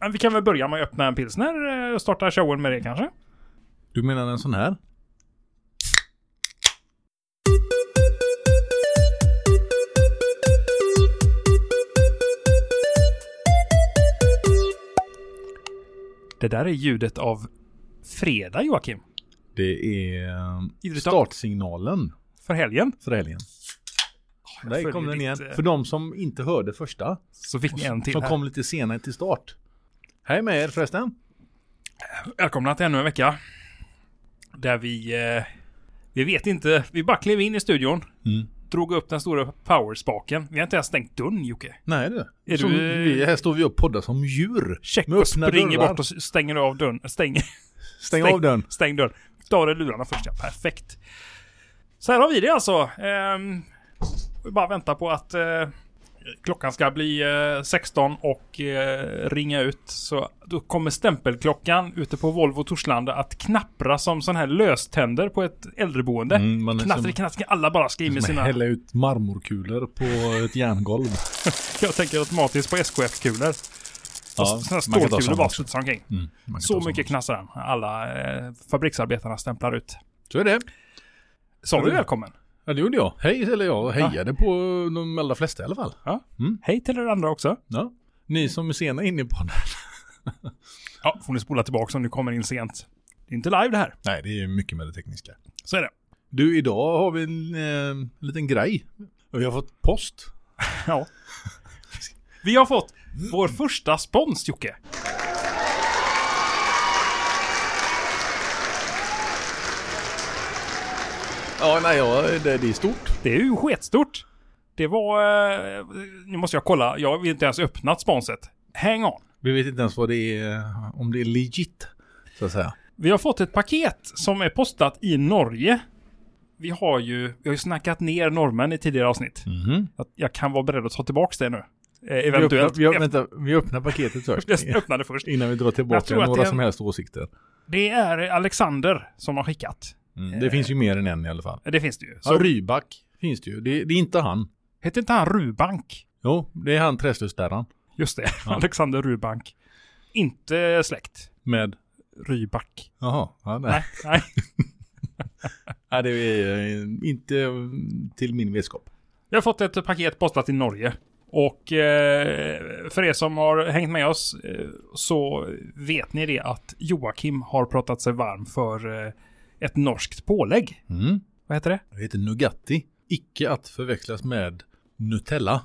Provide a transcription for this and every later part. Men vi kan väl börja med att öppna en pilsner eh, och starta showen med det kanske? Du menar en sån här? Det där är ljudet av fredag Joakim. Det är eh, Idrottsdag. startsignalen För helgen. för helgen. Där följer kom den ditt, igen. eh, För de som inte hörde första. Så fick ni en till Som här. kom lite senare till start. Hej med er förresten. Välkomna till ännu en vecka. Där vi... Eh, vi vet inte. Vi bara klev in i studion. Mm. Drog upp den stora powerspaken. Vi har inte ens stängt dörren Jocke. Nej du. Är som du, eh, vi, här står vi och poddar som djur. Check Med och öppna springer dörrar. bort och s- stänger av dörren. Stäng, Stäng, stäng- av den. Stäng dörren. Ta av dig lurarna först ja. Perfekt. Så här har vi det alltså. Ehm, vi bara vänta på att eh, klockan ska bli eh, 16 och eh, ringa ut. Så då kommer stämpelklockan ute på Volvo Torslanda att knappra som sån här löständer på ett äldreboende. Mm, man är Knattrar, som- knattrar, alla bara skriver med Som sina... hälla ut marmorkulor på ett järngolv. Jag tänker automatiskt på SKF-kulor. Ja, såna stålkulor bara studsar omkring. Mm, man kan ta Så sån mycket också. knassar den. Alla eh, fabriksarbetarna stämplar ut. Så är det. Sa Ja, du det- välkommen? Ja, det gjorde jag. Hej, eller jag hejade på de allra flesta i alla fall. Hej till er andra också. Ja. Ni som är sena in i podden. Ja, får ni spola tillbaka om ni kommer in sent. Det är inte live det här. Nej, det är mycket med det tekniska. Så är det. Du, idag har vi en eh, liten grej. Och vi har fått post. Ja. Vi har fått vår första spons, Jocke. Ja, nej, ja, det, det är stort. Det är ju sketstort. Det var... Eh, nu måste jag kolla. Jag har inte ens öppnat sponset. Hang on. Vi vet inte ens vad det är, om det är legit, så att säga. Vi har fått ett paket som är postat i Norge. Vi har ju, vi har ju snackat ner norrmän i tidigare avsnitt. Mhm. Jag, jag kan vara beredd att ta tillbaka det nu. Eh, Vi, öppnar, eventuellt. vi, öppnar, vänta, vi öppnar paketet först. Jag öppnade först. Innan vi drar Jag tror tillbaka att några det är- som helst åsikter. Det är Alexander som har skickat. Mm. Det finns ju mer än en i alla fall. Det finns det ju. Så, Ja, Ryback finns det ju. Det, det är inte han. Hette inte han Rubank? Jo, det är han träslösdärran. Just det. Ja. Alexander Rubank. Inte släkt. Med? Ryback. Jaha, ja, nej. Nej. Nej. Nej, det är eh, inte eh, till min vetskap. Jag har fått ett paket postat i Norge. Och eh, för er som har hängt med oss eh, så vet ni det att Joakim har pratat sig varm för eh, ett norskt pålägg. Mm. Vad heter det? Det heter Nugatti. Icke att förväxlas med Nutella.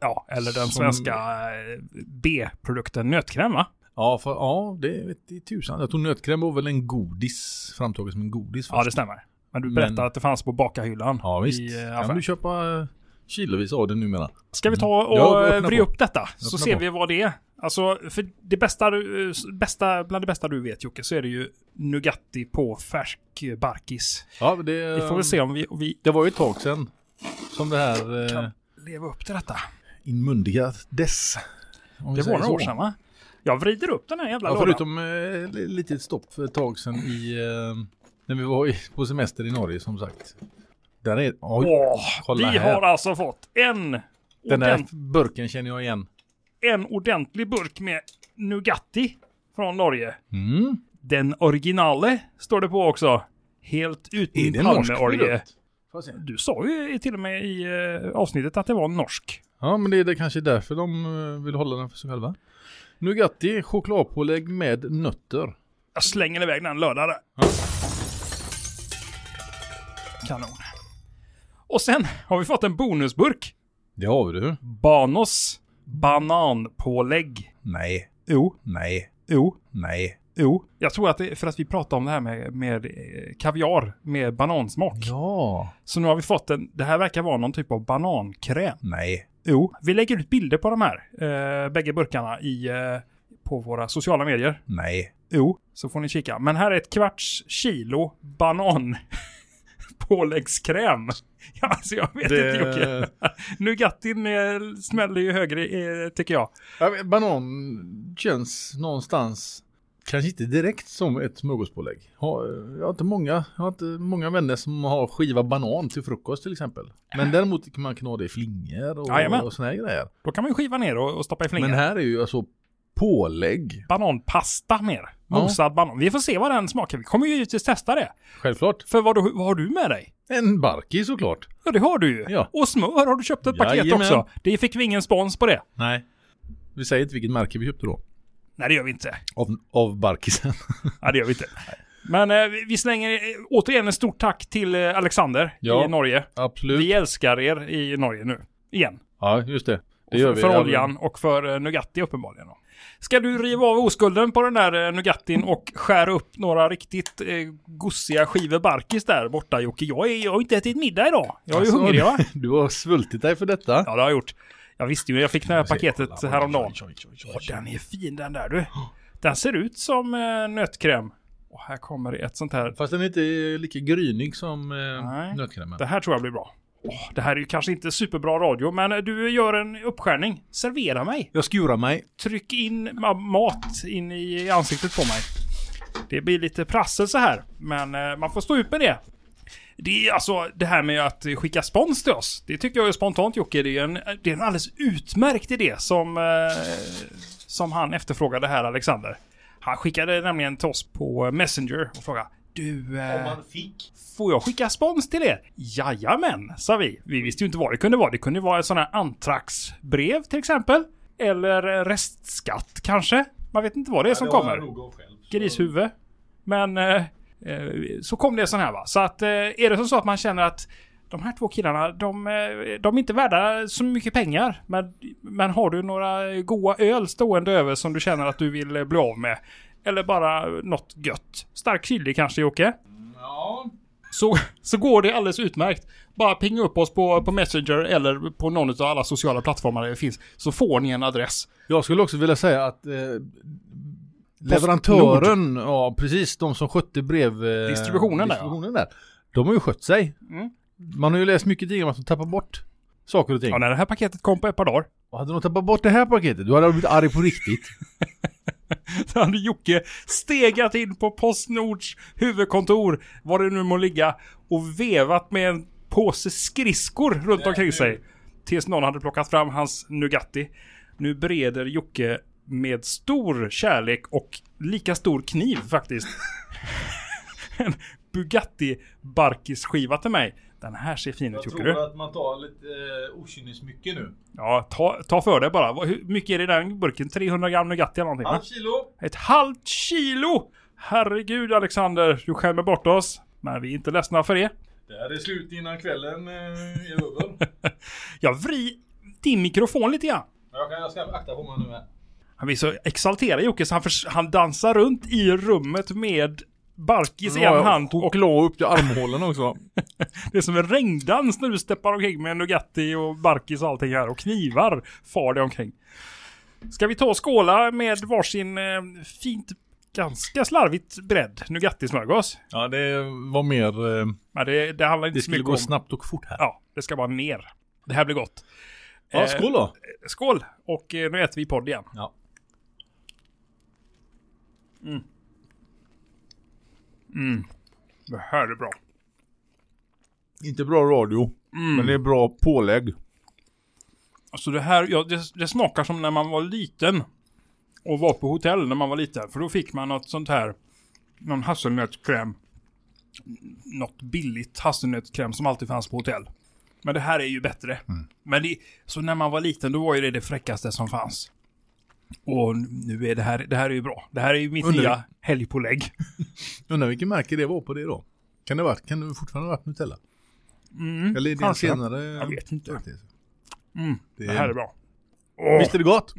Ja, eller den Som- svenska eh, B-produkten nötkräm va? Ja, för, ja det vet i tusan. Jag tror nötkräm var väl en godis, framtaget som en godis. Ja, det först. stämmer. Men du Men- berättade att det fanns på bakarhyllan. ja visst. i, eh, kan affären. du köpa eh, kilovis av det numera? Ska vi ta Mm. Ja, och öppna eh, vrida på. upp detta så Öppna ser på. vi vad det är. Alltså, för det bästa, du- s- bästa, bland det bästa du vet Jocke, så är det ju Nugatti på färsk eh, barkis. Ja, det, eh, Vi får väl se om vi, om vi det var ju ett tag sedan som det här eh, kan leva upp till detta. inmundigades. om vi Det var säger några så. år sedan va? Jag vrider upp den här jävla Ja, lådan. förutom eh, li- litet stopp för ett tag sedan i, eh, när vi var i, på semester i Norge som sagt. Där är, Åh, oj, vi kolla här. har alltså fått en, den där ordent, burken känner jag igen. en ordentlig burk med Nugatti från Norge. Mm. Den originale står det på också. Helt utan palmeolja. Får jag se. Du sa ju till och med i eh, avsnittet att det var norsk. Ja, men det är det kanske därför de eh, vill hålla den för sig själva. Nugatti, chokladpålägg med nötter. Jag slänger iväg den lördag där. Kanon. Och sen har vi fått en bonusburk. Det har vi du. Banos bananpålägg. Nej, Jo, nej, jo, nej. jo. Jag tror att det är för att vi pratade om det här med, med eh, kaviar med banansmak. Ja, Så nu har vi fått en, det här verkar vara någon typ av banankräm. nej. Jo, vi lägger ut bilder på de här eh, bägge burkarna i, eh, på våra sociala medier. Nej. Jo, så får ni kika. Men här är ett kvarts kilo banan påläggskräm. Ja, alltså jag vet Det- inte Jocke. Nugattin eh, smäller ju högre eh, tycker jag. Ja, men banan känns någonstans, kanske inte direkt som ett smörgåspålägg. Har- Jag har inte många, jag har inte många vänner som har skiva banan till frukost till exempel. Men däremot kan man knå det i flingor och, Jajamän. och såna här grejer. Då kan man ju skiva ner och, och stoppa i flingan. Men här är ju alltså pålägg. Bananpasta mer. Mosad banan. Vi får se vad den smakar. Vi kommer ju givetvis testa det. Självklart. För vad, du- vad har du med dig? En barki såklart. Ja, det har du ju. Ja. Och smör har du köpt ett paket Jajamän. också. Det fick vi ingen spons på det. Nej. Vi säger inte vilket märke vi köpte då. Nej, det gör vi inte. Av, av barkisen. Ja, det gör vi inte. Men eh, vi- vi slänger eh, återigen ett stort tack till eh, Alexander Ja. i Norge. Absolut. Vi älskar er i Norge nu. Igen. Ja, just det. Det Och gör för- vi. För Ja, oljan och för eh, Nugatti uppenbarligen. då. Ska du riva av oskulden på den där eh, Nugattin och skära upp några riktigt eh, gossiga skivor barkis där borta Jocke? Jag, är, jag har inte ätit middag idag. Jag är ju Alltså, hungrig va? Du har svultit dig för detta. Ja det har jag gjort. Jag visste ju, jag fick det här Jag ser- paketet kolla, oj, häromdagen. oj, oj, oj, oj, oj. Åh, den är fin den där du. Den ser ut som eh, nötkräm. Och här kommer det ett sånt här. Fast den är inte lika grynig som Nej. eh, nötkrämen. Det här tror jag blir bra. Åh, det här är ju kanske inte superbra radio, men eh, du gör en uppskärning. Servera mig. Jag skurar mig. Tryck in ma- mat in i ansiktet på mig. Det blir lite prassel så här, men eh, man får stå ut med det. Det är alltså det här med att skicka spons till oss. Det tycker jag är spontant Jocke. Det är en, det är en alldeles utmärkt idé som, eh, som han efterfrågade här Alexander. Han skickade nämligen till oss på Messenger och frågade Du, eh, fick. får jag skicka spons till er? Jajamän, sa vi. Vi visste ju inte vad det kunde vara. Det kunde vara ett sånt här antraxbrev till exempel. Eller eh, restskatt kanske. Man vet inte vad det är som kommer grishuvud. Men eh, eh, så kom det sån här va. Så att eh, är det som så att man känner att de här två killarna, de, eh, de är inte värda så mycket pengar. Men, men har du några goa öl stående över som du känner att du vill eh, bli av med? Eller bara något gött. Stark chili kanske Jocke? Ja. så, så går det alldeles utmärkt. Bara pinga upp oss på, på Messenger eller på någon av alla sociala plattformar där det finns. Så får ni en adress. Jag skulle också vilja säga att eh, leverantören, ja precis, de som skötte brev... Eh, Distributionen där, ja. distributionen där, De har ju skött sig. Mm. Man har ju läst mycket tidningar om att de tappar bort saker och ting. Ja, när det här paketet kom på ett par dagar. Och hade de tappat bort det här paketet, då hade de blivit arg på riktigt. Då hade Jocke stegat in på Postnords huvudkontor, var det nu må ligga, och vevat med en påse skridskor runt omkring sig. Tills någon hade plockat fram hans Nugatti. Nu breder Jocke med stor kärlek och lika stor kniv faktiskt. en Bugatti barkisskiva till mig. Den här ser fin ut Jag Jocke tror du. att man tar lite eh, okynnesmycket nu. Ja, ta, ta för dig bara. Vad- Hur mycket är det i den burken? 300 gram Nugatti eller någonting? va? Halv kilo. Ett halvt kilo! Herregud Alexander, du skämmer bort oss. Men vi är inte ledsna för det. Det här är slut innan kvällen eh, är över. Jag vri din mikrofon lite grann. jag, kan, jag ska akta på mig nu här. Han blir så exalterad Jocke så han, förs- han dansar runt i rummet med Barkis i en hand och la upp till armhålen också. det är som en regndans när du steppar omkring med en Nugatti och Barkis och allting här och knivar far det omkring. Ska vi ta och skåla med varsin eh, fint, ganska slarvigt bredd Nugatti-smörgås? ja, det var mer... Eh, Men det, det handlar inte det så skulle mycket gå om... snabbt och fort här. Ja, det ska bara ner. Det här blir gott. Ja, skål då! Skål! Och eh, nu äter vi podd igen. Ja. Det här är bra. Inte bra radio, Mm. men det är bra pålägg. Alltså det här, ja, det, det smakar som när man var liten. Och var på hotell när man var liten. För då fick man något sånt här. Någon hasselnötskräm. Något billigt hasselnötskräm som alltid fanns på hotell. Men det här är ju bättre. Men det, så när man var liten då var ju det det fräckaste som fanns. Och nu är det här, det här är ju bra. Det här är ju mitt Undrar- nya helgpålägg. Undrar vilken märke det var på det då? Kan det ha varit, kan det fortfarande ha varit Nutella? Eller är det en Mm, kanske. senare? Jag vet inte. Mm, det, Det här är bra. Mm. Visst är det gott?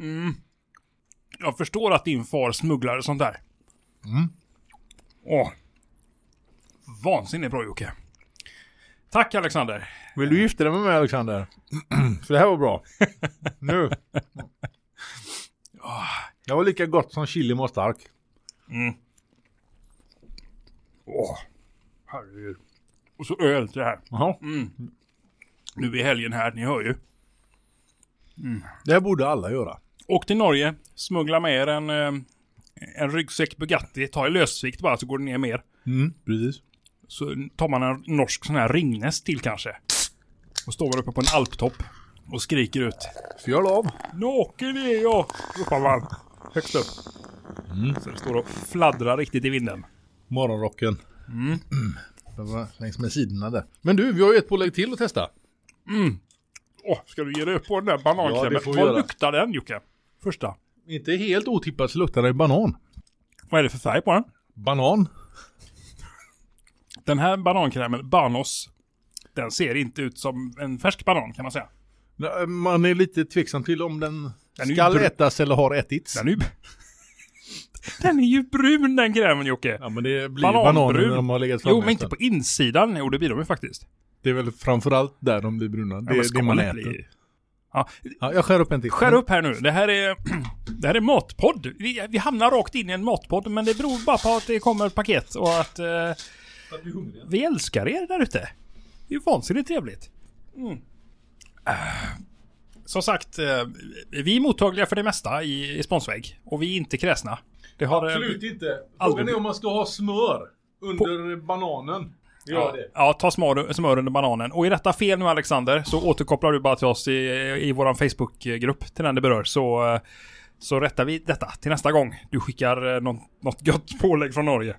Jag förstår att din far smugglade sånt där. Åh. Vansinnigt bra Jocke. Tack Alexander. Vill du gifta dig med mig Alexander? För det här var bra. nu. Det var lika gott som chili var stark. Åh. Herregud. Och så öl till det här. Jaha. Nu är helgen här, ni hör ju. Det här borde alla göra. Åk till Norge, smuggla med er en, eh, en ryggsäck Bugatti. Ta i lösvikt bara så går det ner mer. Mm, precis. Så tar man en norsk sån här ringnäst till kanske. Och står man uppe på en alptopp och skriker ut. Fjöl av. Naken är jag! ropar man. högst upp. Mm. Så det står och fladdrar riktigt i vinden. Morgonrocken. Mm. Den var Längs med sidorna där. Men du, vi har ju ett pålägg till att testa. Åh, ska du ge dig upp på den där Ja, bananklämmen? det får vi Vad göra. luktar den Jocke? Första. Inte helt otippat så luktar det banan. Vad är det för färg på den? Banan? Den här banankrämen, Banos, den ser inte ut som en färsk banan kan man säga. Nej, Man är lite tveksam till om den, Den är ju ska br- ätas eller har ätits. Den är ju, den är ju brun den krämen Jocke. Ja men det blir Bananbrun. bananer när de har legat framme. Jo, men inte på insidan. Jo, det blir de ju faktiskt. Det är väl framförallt där de blir bruna. Ja, Det men är det man skalet äter. blir- Ja, Ja, jag skär upp en till. skär upp här nu. Det här är, det här är matpodd. Vi, vi hamnar rakt in i en matpodd, men det beror bara på att det kommer ett paket och att eh, För att vi är hungriga. vi älskar er där ute. Det är ju vansinnigt trevligt. Mm. Eh, Som sagt, eh, vi är mottagliga för det mesta i, i sponsvägg. Och vi är inte kräsna. Det har, eh, Absolut inte. Frågan aldrig- är om man ska ha smör under bananen. Gör Ja, det. ja, ta smör, smör under bananen. Och i detta fel nu Alexander, så återkopplar du bara till oss i, i vår Facebookgrupp till den det berör. Så, eh, så rättar vi detta till nästa gång. Du skickar eh, något, något gött pålägg från Norge.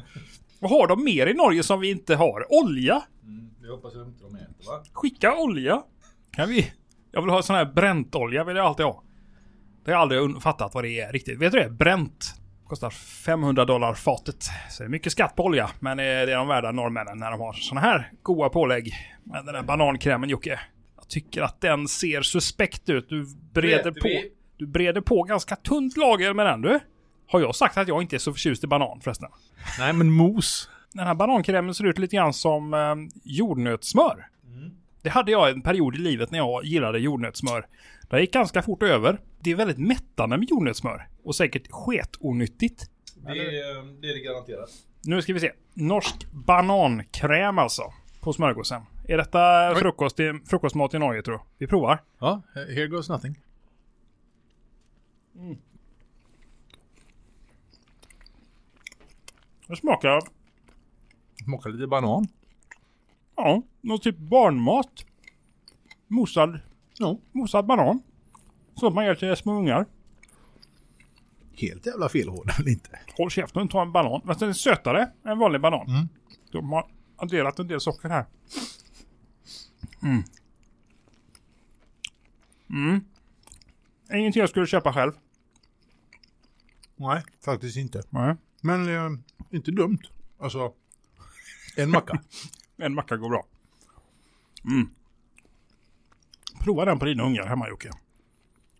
Vad har de mer i Norge som vi inte har? Olja? Mm, det hoppas jag inte de äter va? Skicka olja. Kan vi? Jag vill ha sån här bräntolja, vill jag alltid ha. Det har jag aldrig un- fattat vad det är riktigt. Vet du det? Bränt. Kostar 500 dollar fatet. Så det är mycket skatt på olja. Men eh, det är de värda norrmännen när de har såna här goa pålägg. Men den här banankrämen Jocke. Jag tycker att den ser suspekt ut. Du breder Vet på. vi. Du breder på ganska tunt lager med den du. Har jag sagt att jag inte är så förtjust i banan förresten? Nej men mos. Den här banankrämen ser ut lite grann som eh, jordnötssmör. Det hade jag en period i livet när jag gillade jordnötssmör. Det gick ganska fort över. Det är väldigt mättande med jordnötssmör. Och säkert sketonyttigt. Det, eh, är- det är det garanterat. Nu ska vi se. Norsk banankräm alltså. På smörgåsen. Är detta frukost, i- frukostmat i Norge tror jag? Vi provar. Ja, here goes nothing. Det smakar, Smakar lite banan. ja, någon typ barnmat. Mosad, Ja. mosad banan. Så man gör till små ungar. Helt jävla fel hål väl inte. Håll käften, ta en banan. Fast den är sötare än vanlig banan. De har adderat en del socker här. Mm. Mm. Ingenting jag skulle köpa själv. Nej, faktiskt inte. Nej. Men eh, inte dumt. Alltså, en macka. En macka går bra. Mm. Prova den på dina ungar hemma Jocke.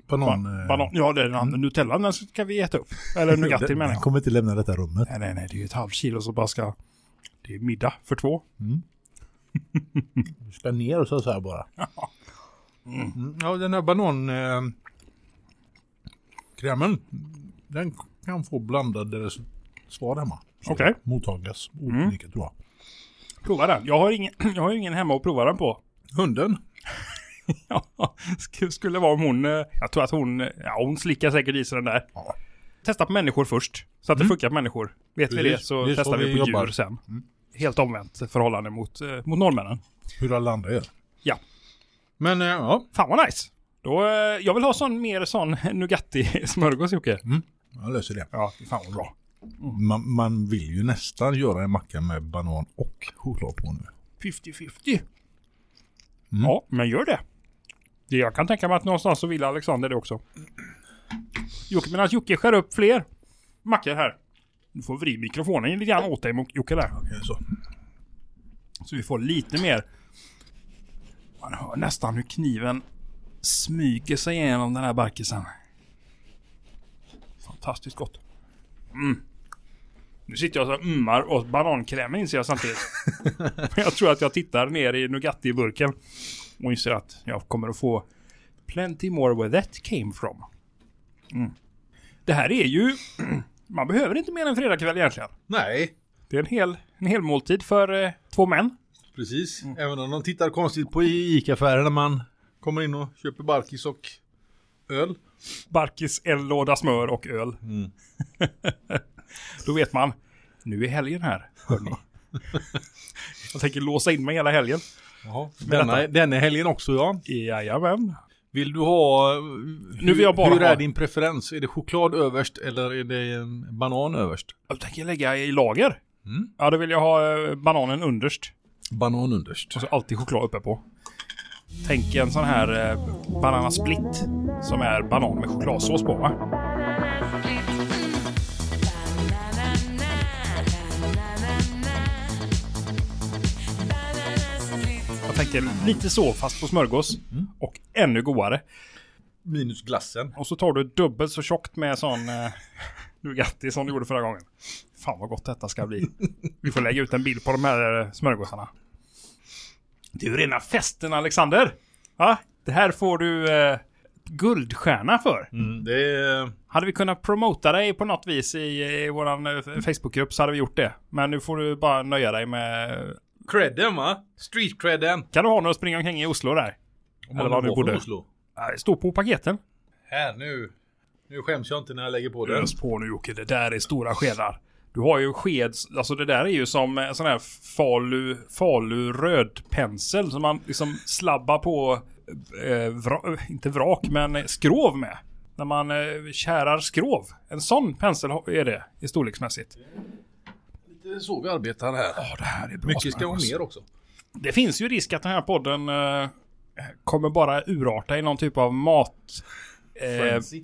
Banan. eh, Banan. Ja, det är den andra. Nutellan den ska vi äta upp. Eller Nugatti den- menar den jag. kommer inte lämna detta rummet. Nej, nej, nej. Det är ju ett halvt kilo som bara ska... Det är middag för två. Du ska ner och så, så här bara. Mm, Ja, den här banan... Eh, krämen. Den kan få blandade res- svar hemma. Så Okej. Mottagas. Olika tror jag. Prova den. Jag har ingen, jag har ingen hemma att prova den på. Hunden. Ja, sk- skulle vara om hon... eh, Jag tror att hon... eh, Ja, hon slickar säkert i sig den där. Ja. Testa på människor först. Så att det funkar på människor. Vet vi det Precis. så Det är så testar vi vi på jobbar. djur sen. Helt omvänt förhållande mot, eh, mot norrmännen. Hur alla andra gör. Ja. Men eh, ja, Fan vad nice! Då, eh, jag vill ha sån, mer sån Nugatti-smörgås Jocke. jag löser det. Ja, fan vad bra. Man, man vill ju nästan göra en macka med banan och choklad på nu. 50-50. Ja, men gör det. det. Jag kan tänka mig att någonstans så vill Alexander det också. Jocke, medan Jocke skär upp fler mackor här. Du får vri mikrofonen lite grann åt dig Jocke där. Okej, så. Så vi får lite mer... Man hör nästan hur kniven smyger sig igenom den här barkisen. Fantastiskt gott. Mm. Nu sitter jag och så ummar åt banankrämen inser jag samtidigt. Men jag tror att jag tittar ner i Nugatti-burken och inser att jag kommer att få plenty more where that came from. Mm. Det här är ju... Man behöver inte mer än fredagkväll egentligen. Nej, Det är en hel, en hel måltid för eh, två män. precis. Även om de tittar konstigt på i- ICA-affären när man kommer in och köper barkis och öl. Barkis, en låda smör och öl. Då vet man. Nu är helgen här, hörni. Jag tänker låsa in mig hela helgen. Denna, denna helgen också ja. Jajamän. Vill du ha... Nu vill jag bara hur ha- är din preferens? Är det choklad överst eller är det eh, banan överst? Jag tänker lägga i lager. Mm. Ja, då vill jag ha eh, bananen underst. Banan underst. Och så alltid choklad uppe på. Tänk en sån här eh, banana split som är banan med chokladsås på va? Jag tänker lite så fast på smörgås och ännu godare. Minus glassen. Och så tar du dubbelt så tjockt med sån eh, Nugatti som du gjorde förra gången. Fan vad gott detta ska bli. Vi får lägga ut en bild på de här eh, smörgåsarna. Du rena festen Alexander! Va? Det här får du eh, guldstjärna för. Mm, det är... Hade vi kunnat promota dig på något vis i, i våran eh, Facebookgrupp så hade vi gjort det. Men nu får du bara nöja dig med... Credden va? Street credden. Kan du ha någon att springa omkring i Oslo där? Eller var du bodde? Oslo. Eh, Stå på paketen. Här nu. Nu skäms jag inte när jag lägger på den. Ös på nu Jocke, det där är stora skedar. Du har ju sked, alltså det där är ju som en sån här falu, falu röd pensel som man liksom slabbar på, eh, vra, inte vrak, men skrov med. När man eh, kärar skrov. En sån pensel har- är det i storleksmässigt. Det är så vi arbetar här. Ja, det här är bra. Mycket ska vara smörgås. mer också. Det finns ju risk att den här podden eh, kommer bara urarta i någon typ av mat... Eh, Fancy.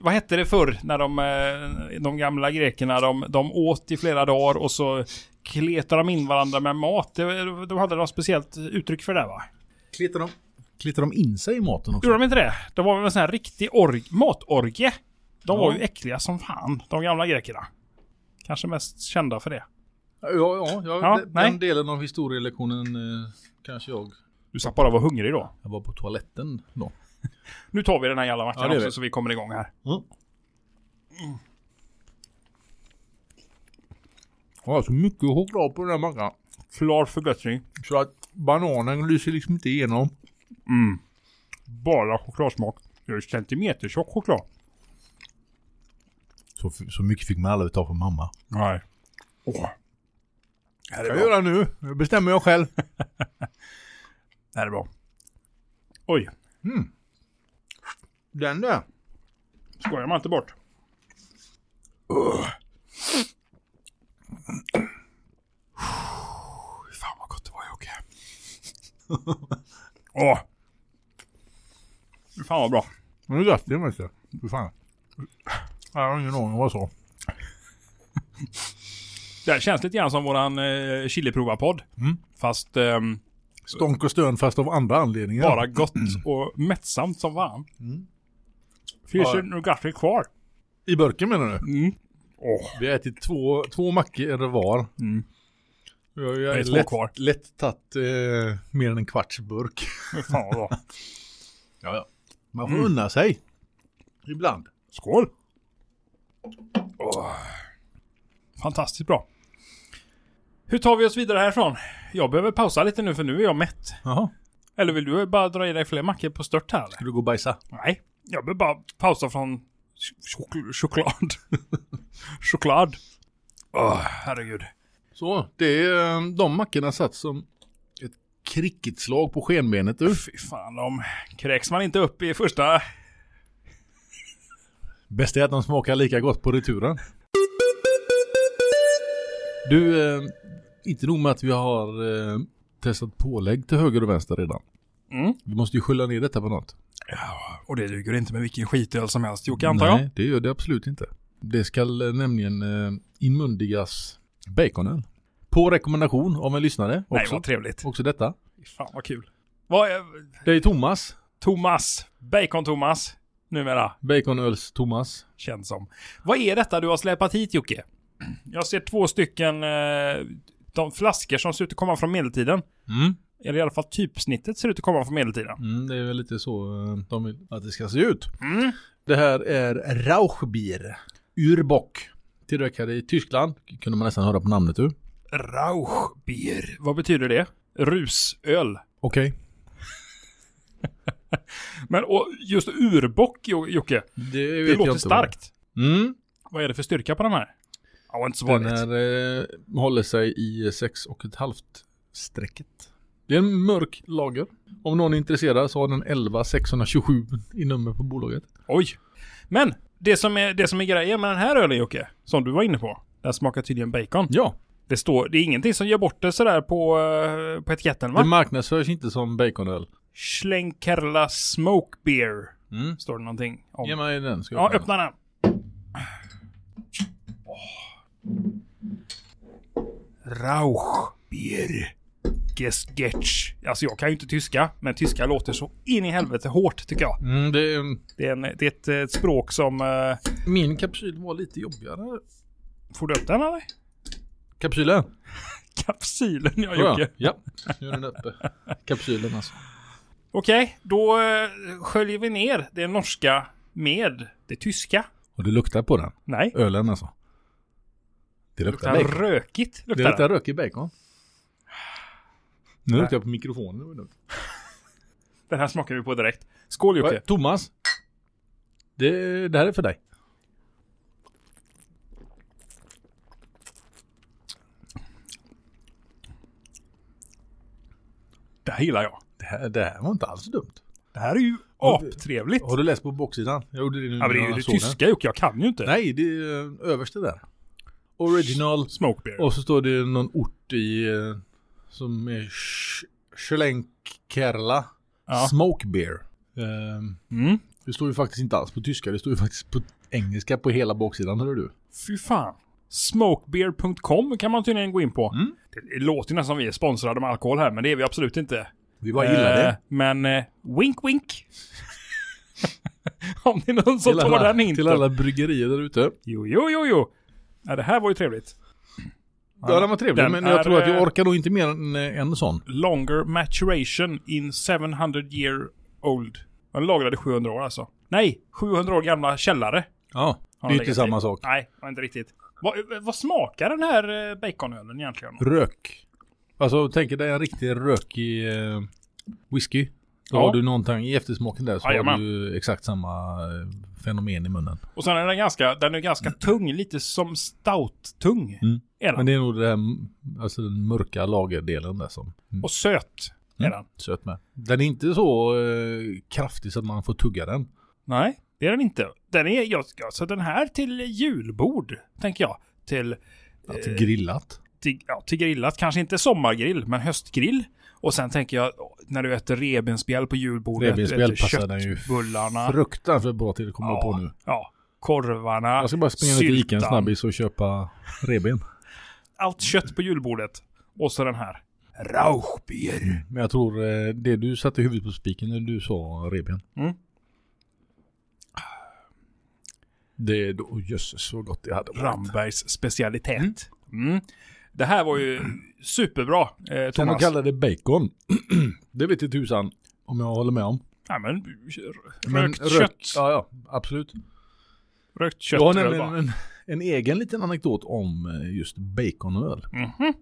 vad hette det förr när de, eh, de gamla grekerna, de, de åt i flera dagar och så kletade de in varandra med mat. De, de hade något speciellt uttryck för det va? Klittar de, klittar de in sig i maten också? Gjorde de inte det? Det var väl en sån här riktig org, matorgie. De var ju äckliga som fan, de gamla grekerna. Kanske mest kända för det. Ja, ja. ja, Ja, den, nej. den delen av historielektionen eh, kanske jag. Du satt bara och var hungrig då. Jag var på toaletten då. Nu tar vi den här jävla Ja, mackan det gör också vi. så vi kommer igång här. Mm. Jag har så mycket choklad på den här mackan. Klar förbättring. Så att bananen lyser liksom inte igenom. Bara chokladsmak. Det är centimeter tjock choklad. Så, så mycket fick man aldrig ta från mamma. Nej. Åh. Det här är Ska jag bra. göra nu? Det bestämmer jag själv. Det här är bra. Oj. Den där. Skojar man inte bort. Ugh. Fan vad gott det var Jocke. Åh. Fan vad bra. Men det är gött det vet du. Fy fan. Jag har ingen aning vad jag sa. Det här känns lite grann som våran eh, chiliprovarpodd. Mm. Fast ehm, Stånk och stön fast av andra anledningar. bara gott och mättsamt som fan. Mm. Finns Ja. det Nugatti kvar? I burken menar du? Mm. Vi har ätit två, två mackor var. Mm. Jag, jag Det är är två lätt, kvar. lätt tagit eh, mer än en kvarts burk. Fan vad bra. Ja, ja. Man får unna sig. Ibland. Skål! Åh. Fantastiskt bra. Hur tar vi oss vidare härifrån? Jag behöver pausa lite nu för nu är jag mätt. Jaha. Eller vill du bara dra i dig fler mackor på stört här? eller? Ska du gå och bajsa? Nej, jag behöver bara pausa från ch- chok- choklad. choklad. Åh, herregud. Så, det är, eh, de mackorna satt som ett cricketslag på skenbenet du. Fy fan, de kräks man inte upp i första... Bäst är att de smakar lika gott på returen. Du, eh, inte nog med att vi har eh, testat pålägg till höger och vänster redan. Mm. Vi måste ju skylla ner detta på något. Och det duger inte med vilken skitöl som helst, Jocke, antar jag. Nej, det gör det absolut inte. Det ska eh, nämligen eh, inmundigas baconen. På rekommendation av en lyssnare Nej, också. vad trevligt. också detta. Fy fan, vad kul. Vad är... Det är Thomas. Thomas. Bacon-Thomas. Numera. Baconöls-Thomas. Känns som. Vad är detta du har släpat hit Jocke? Jag ser två stycken eh, de flaskor som ser ut att komma från medeltiden. Mm. Eller i alla fall typsnittet ser ut att komma från medeltiden. Mm, det är väl lite så eh, de vill att det ska se ut. Mm. Det här är Rauchbier ur bock. Tillverkade i Tyskland. Kunde man nästan höra på namnet du. Rauchbier. Vad betyder det? Rusöl. Okej. Men och just urbock Jo- Jocke. Det, Det vet jag låter inte vad det är. starkt. Mm. Vad är det för styrka på de här? Ja, var inte så Den vanligt. här eh, håller sig i sex och ett halvt strecket. Det är en mörk lager. Om någon är intresserad så har den 11 627 i nummer på bolaget. Oj! Men det som är, det som är grejen med den här ölen Jocke, som du var inne på. Den smakar tydligen bacon. Ja, Det, står, det är ingenting som gör bort det sådär på, eh, på etiketten det va? marknadsförs inte som baconöl. Schlenkerla Smoke Beer. Mm. Står det någonting om. Ge mig den. Ska jag Ja, öppna den. Oh. Rauch. Bier. Gesgetsch. Alltså jag kan ju inte tyska, men tyska låter så in i helvete hårt tycker jag. Mm, det är, Det är, en, det är ett, eh, ett språk som... eh, min kapsyl var lite jobbigare. får du upp den eller? Kapsylen? Kapsylen jag Jocke. Ja, nu är den uppe. Kapsylen alltså. Okej, då eh, sköljer vi ner det norska med det tyska. Och du luktar på den? Nej. Ölen alltså? Det luktar, Luktar bacon. rökigt. Det Luktar luktar det. rökig bacon. Nu luktar jag på mikrofonen. Den här smakar vi på direkt. Skål Okay. Jocke. Thomas. Det, det här är för dig. Det här gillar jag. Det här, det här var inte alls dumt. Det här är ju aptrevligt. Har du läst på baksidan? Jag gjorde det nu Ja, men det är ju när det jag såg den. tyska Jocke, jag kan ju inte. Nej, det är eh, överste där. Original. Smokebeer. Och så står det någon ort i... eh, Som är Sch- Schlenkerla. Ja. Smoke beer. Ehm, Mm. Det står ju faktiskt inte alls på tyska. Det står ju faktiskt på engelska på hela baksidan, hör du. Fy fan. Smokebeer.com kan man tydligen gå in på. Mm. Det låter ju nästan som vi är sponsrade med alkohol här, men det är vi absolut inte. Vi bara gillar Eh, det. Men eh, wink wink. Om det är någon som Till tar alla, den hinten. till alla bryggerier där ute. Jo, jo, jo, jo. Ja, det här var ju trevligt. Ja, den var trevlig, Den men jag är, tror att eh, jag orkar nog inte mer än eh, en sån. Longer maturation in 700 year old. Den lagrade 700 år alltså. Nej, 700 år gamla källare. Ja, det har är ju den inte legat samma i. sak. Nej, det var inte riktigt. Vad, vad smakar den här eh, baconölen egentligen? Rök. Alltså, tänk dig en riktig rökig eh, whisky. Då Ja. har du någonting i eftersmaken där så har Jajamän. du exakt samma eh, fenomen i munnen. Och sen är den ganska, den är ganska tung, lite som stout-tung. Mm. Är den. Men det är nog det här, m- alltså den mörka lagerdelen där som mm, Och söt är den. söt med. Den är inte så eh, kraftig så att man får tugga den. Nej, det är den inte. Den är, jag ska, så den här till julbord, tänker jag. Till, Att Eh, grillat. till, ja, till grillat, kanske inte sommargrill, men höstgrill. Och sen tänker jag, när du äter revbensspjäll på julbordet, Revbensspjäll du äter passar den ju köttbullarna. Fruktansvärt bra till det kommer ja, jag på nu. Ja, korvarna, Jag ska bara springa ner till Ica en syltan. snabbis och köpa reben. Allt kött på julbordet. Och så den här. Rauchbier. Men jag tror eh, det du satte huvudet på spiken när du sa reben. Mm. Det är då, oh, jösses vad gott det hade varit. Rambergs specialitet. Mm. Det här var ju superbra, eh, Sen de Thomas. kallar det bacon. det vet inte tusan om jag håller med om. Ja, men, r- Men rökt rök- kött. Ja, ja, absolut. Rökt kött. Jag har eller nämligen vad? en, en egen liten anekdot om eh, just baconöl. Mhm.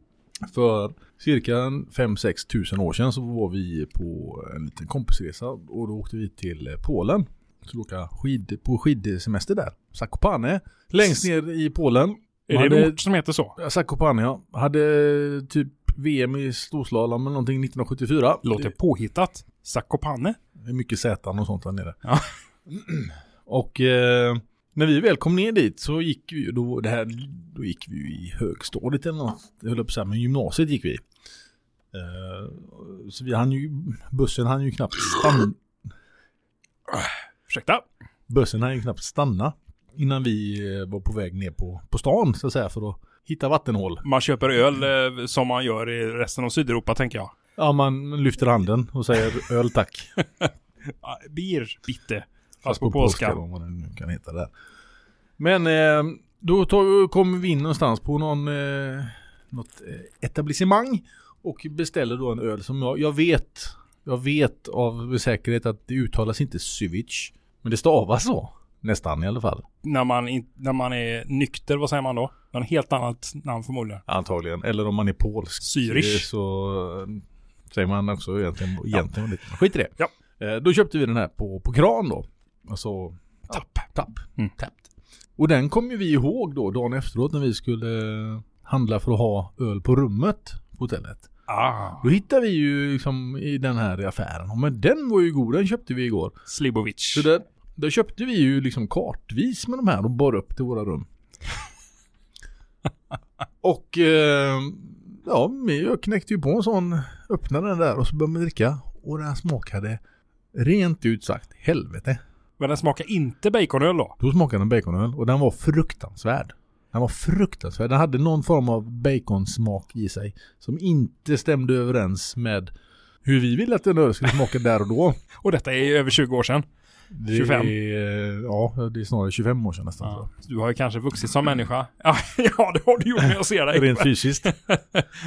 För cirka 5-6 tusen år sedan så var vi på en liten kompisresa och då åkte vi till eh, Polen. Så vi åka skid, på skidsemester där. Zakopane. Längst ner i Polen. Är det en Hade- ort som heter så? Zakopane ja. Hade typ VM i storslalom eller någonting 1974. Låter påhittat. Zakopane. Det är mycket sätan och sånt där nere. Ja. Och eh, när vi väl kom ner dit så gick vi ju- då, det här, då gick vi ju i högstadiet eller något. Jag höll på att säga, men gymnasiet gick vi. i. Eh, så vi hann ju, bussen hann ju knappt stanna. Ursäkta. Bussen hann ju knappt stanna innan vi eh, var på väg ner på, på stan så att säga för att hitta vattenhål. Man köper öl eh, som man gör i resten av Sydeuropa, tänker jag. Ja, man lyfter handen och säger öl tack. Ah, Bier, bitte. Fast på, polska. då, vad den nu kan heta där. Men eh, då tar, kommer vi in någonstans på någon, eh, något eh, etablissemang och beställer då en öl som jag, jag vet, jag vet av säkerhet att det uttalas inte Syvic, men det stavas så. Nästan i alla fall. När, man in, när man är nykter, vad säger man då? Någon helt annat namn förmodligen. Antagligen. Eller om man är polsk. Zürich. eh, Så eh, säger man också egentligen. egentligen lite. Skit i det. Ja. Eh, Då köpte vi den här på, på kran då. Alltså Tapp. Tapp. Mm. Tappt. Och den kommer ju vi ihåg då dagen efteråt när vi skulle eh, handla för att ha öl på rummet på hotellet. Ah, Då hittar vi ju liksom i den här affären. "Ja, Men den var ju god, den köpte vi igår. Slibovic. Så där, där köpte vi ju liksom kartvis med de här och bar upp till våra rum. och eh, ja, men jag knäckte ju på en sån, öppnade den där och så började man dricka. Och den smakade rent ut sagt helvete. Men den smakar inte baconöl då? Då smakade den baconöl och den var fruktansvärd. Den var fruktansvärd. Den hade någon form av baconsmak i sig som inte stämde överens med hur vi ville att en öl skulle smaka där och då. Och detta är ju över 20 år sedan. Det 25. Är, ja, det är snarare 25 år sedan nästan. tror jag. Du har ju kanske vuxit som människa. Ja, ja det har du gjort när jag ser dig. Rent fysiskt.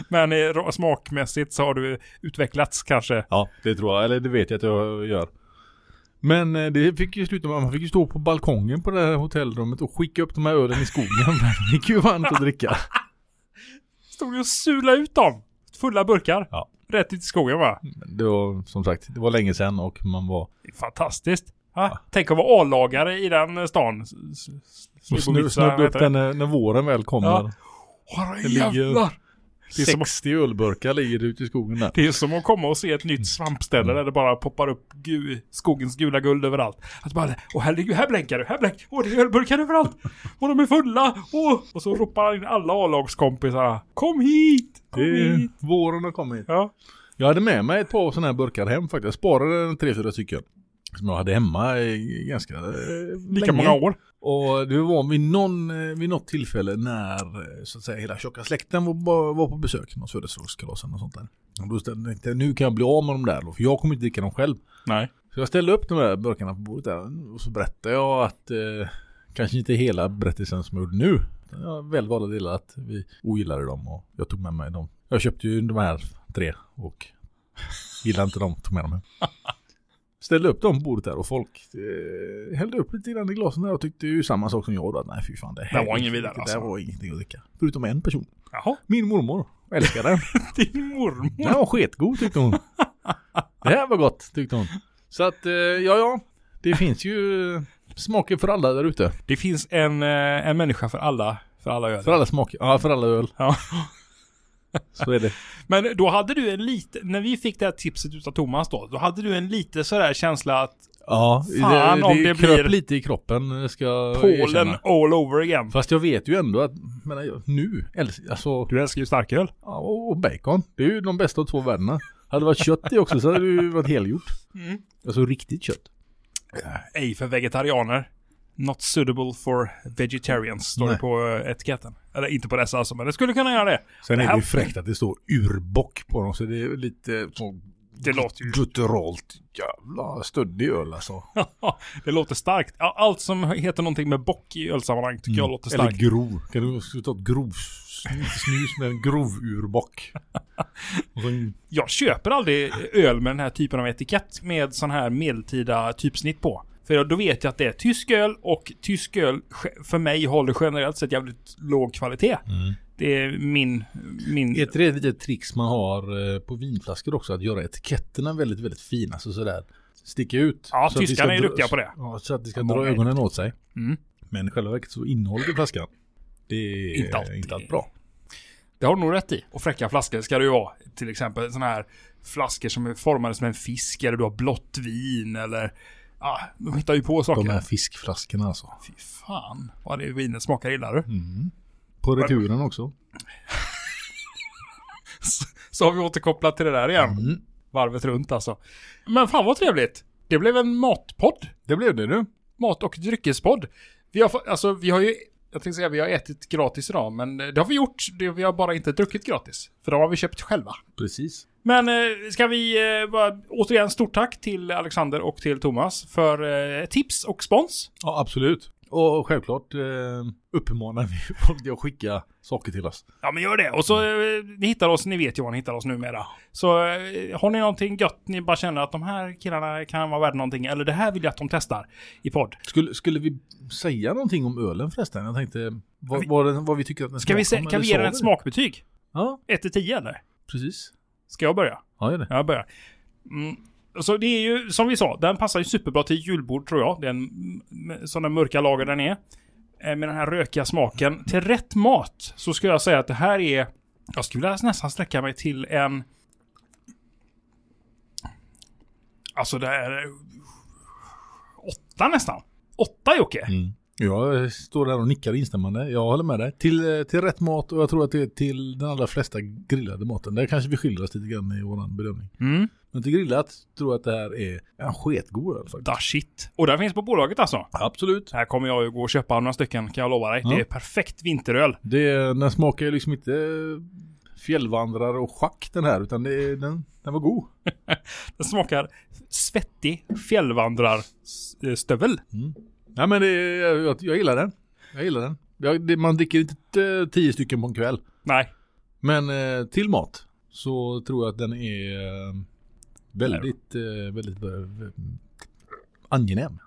Men eh, ra- smakmässigt så har du utvecklats kanske. Ja, det tror jag. Eller det vet jag att jag gör. Men eh, det fick ju sluta med att man fick ju stå på balkongen på det här hotellrummet och skicka upp de här ölen i skogen. Det gick ju varmt att dricka. Stod ju och sula ut dem. Fulla burkar. Ja. Rätt ut i skogen va? Men Det var som sagt, det var länge sedan och man var... Det är Fantastiskt. Ha? Tänk att vara A-lagare i den eh, stan. S- s- s- Och snu- Slibovica, snubbla upp heter det. den eh, när, när våren väl kommer. Ja. Åh, Det ligger- jävlar! Det är, som, att- 60 ölburkar ligger det ute i skogen där. det är som att komma och se ett nytt svampställe där det bara poppar upp gu, skogens gula guld överallt. Att bara, åh herregud, här blänkar du, här blänkar Åh, det är ölburkar överallt! Och de är fulla! Åh! Och så ropar han in alla A-lagskompisarna. Kom hit! Kom Det är, hit! våren har kommit. Ja. Jag hade med mig ett par sådana här burkar hem faktiskt. Jag sparade en tre, fyra stycken. Som jag hade hemma i ganska eh, Lika länge. många år. Och det var vid, någon, eh, vid något tillfälle när eh, så att säga, hela tjocka släkten var, var- var på besök. Någon födelsedagskalas eller något sånt där. Och då tänkte jag tänkte, nu kan jag bli av med dem där då, för jag kommer inte dricka dem själv. Nej. Så jag ställde upp de här burkarna på bordet där och så berättade jag att eh, kanske inte hela berättelsen som jag gjorde nu. utan Jag välvalda delar att vi ogillade dem och jag tog med mig dem. Jag köpte ju de här tre och gillade inte dem, tog med dem hem. Ställde upp dem på bordet där och folk eh, hällde upp lite grann i glasen där och tyckte ju samma sak som jag då. att Nej fy fan det här Det var ingen vidare, Det där alltså. var ingenting att dricka. Förutom en person. Jaha, Min mormor. Älskar den. din mormor. Den var sketgod tyckte hon. Det här var gott tyckte hon. Så att, eh, ja ja. Det finns ju eh, smaker för alla där ute. Det finns en, eh, en människa för alla, för alla öl. För alla smaker. Ja, för alla öl. Ja. Så är det. Men då hade du en lite, när vi fick det här tipset utav Thomas då, då hade du en lite sådär känsla att Ja, Fan, det, om det, det kröp blir- lite i kroppen ska jag Polen erkänna. all over again. Fast jag vet ju ändå att, men jag, nu, älsk- alltså, Du älskar ju starköl. ja, och bacon. Det är ju de bästa av två världarna. Hade det varit kött i också så hade det ju varit helgjort. Mm. Alltså riktigt kött. Ej för vegetarianer. Not suitable for vegetarians, står Nej. det på eh, etiketten. Eller inte på dessa alltså, men det skulle kunna göra det. Sen är det här- ju fräckt att det står urbock på dem så det är lite så Det låter ju... gutturalt jävla stöddig öl alltså. det låter starkt. Ja, Allt som heter någonting med bock i ölsammanhang tycker jag låter Mm. Eller starkt. grov. Kan du ska du ta ett grov inte snus med en grov urbock? Och sen, Jag köper aldrig öl med den här typen av etikett med sån här medeltida typsnitt på. För då vet jag att det är tysk öl och tysk öl ge- för mig håller generellt sett jävligt låg kvalitet. Mm. Det är min... min ett litet trix man har eh, på vinflaskor också att göra etiketterna väldigt, väldigt fina. Så sådär sticka ut. Ja, Så att det tyskarna ska är dra- duktiga på det. Ja, så att det ska Många dra är ögonen åt sig. Mm. Men i själva verket så innehåller det flaskan. Det är Inte alltid. inte allt bra. Det har du nog rätt i. Och fräcka flaskor ska det ju vara. Till exempel såna här flaskor som är formade som en fisk eller du har blått vin eller... Ja, de hittar ju på saker. De här fiskflaskorna alltså. Fy fan vad det vinet smakar illa du. På returen också. Så har vi återkopplat till det där igen. Varvet runt alltså. Men fan vad trevligt. Det blev en matpodd. Det blev det nu. Mat och dryckespodd. Vi har, fått- alltså vi har ju... Jag tänkte säga vi har ätit gratis idag, men det har vi gjort. Det, vi har bara inte druckit gratis. För de har vi köpt själva. Precis. Men eh, ska vi eh, bara, återigen stort tack till Alexander och till Thomas för eh, tips och spons. Ja, absolut. Och självklart eh, uppmanar vi folk till att skicka saker till oss. Ja men gör det. Och så eh, ni hittar oss, ni vet ju var ni hittar oss numera. Så eh, har ni någonting gött, ni bara känner att de här killarna kan vara värda någonting, eller det här vill jag att de testar i podd. Skulle, skulle vi säga någonting om ölen förresten? Jag tänkte vad, vad, den, vad vi tycker att den Ska vi se, smakar om, kan eller vi sa ge den ett det? smakbetyg? Ja, 1 till 10 eller? precis. Ska jag börja? Ja, gör det. Jag börjar. Mm. Så det är ju, som vi sa, den passar ju superbra till julbord tror jag. Den, m- sådana mm, mörka lager den är. Eh, Med den här rökiga smaken. Till rätt mat så skulle jag säga att det här är Jag skulle vilja nästan sträcka mig till en... Alltså det här... är- Åtta nästan. Åtta Jocke. Jag eh, står där och nickar instämmande. Jag håller med dig. Till, eh, till rätt mat och jag tror att det är till den allra flesta grillade maten. Där kanske vi skiljer oss lite grann i vår bedömning. Mm. Men till grillat tror jag att det här är en sketgod öl faktiskt. Da shit. Och den finns på bolaget alltså. Absolut. Så här kommer jag ju gå och köpa några stycken kan jag lova dig. Ja. Det är perfekt vinteröl. Det, den smakar ju liksom inte fjällvandrare och schack den här, utan det, är- den, den var god. Den smakar svettig eh, fjällvandrarstövel. Ja, men det, jag, jag gillar den. Jag gillar den. Jag, det, man dricker inte eh, tio stycken på en kväll. Nej, Men eh, till mat så tror jag att den är eh, väldigt, eh, väldigt eh, angenäm.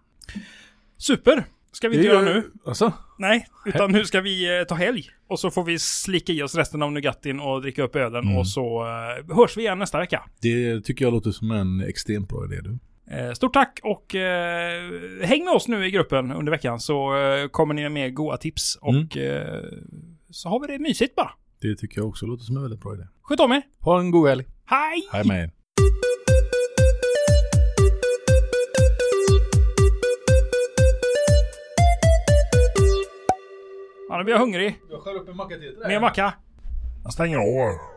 super. Ska vi inte göra nu. Alltså, Nej, utan nu ska vi eh, ta helg. Och så får vi slicka i oss resten av nougatin och dricka upp ölen. Och så eh, hörs vi igen nästa vecka. det tycker jag låter som en extremt bra idé du. Eh, stort tack och eh, häng med oss nu i gruppen under veckan så eh, kommer ni med goda tips. Och eh, så har vi det mysigt bara. Det tycker jag också låter som en väldigt bra idé. Sköt om er. Ha en god helg. Hej! Hej med er. Ja, nu blir jag hungrig. Jag skär upp en macka till till dig. Mer macka. Jag stänger av.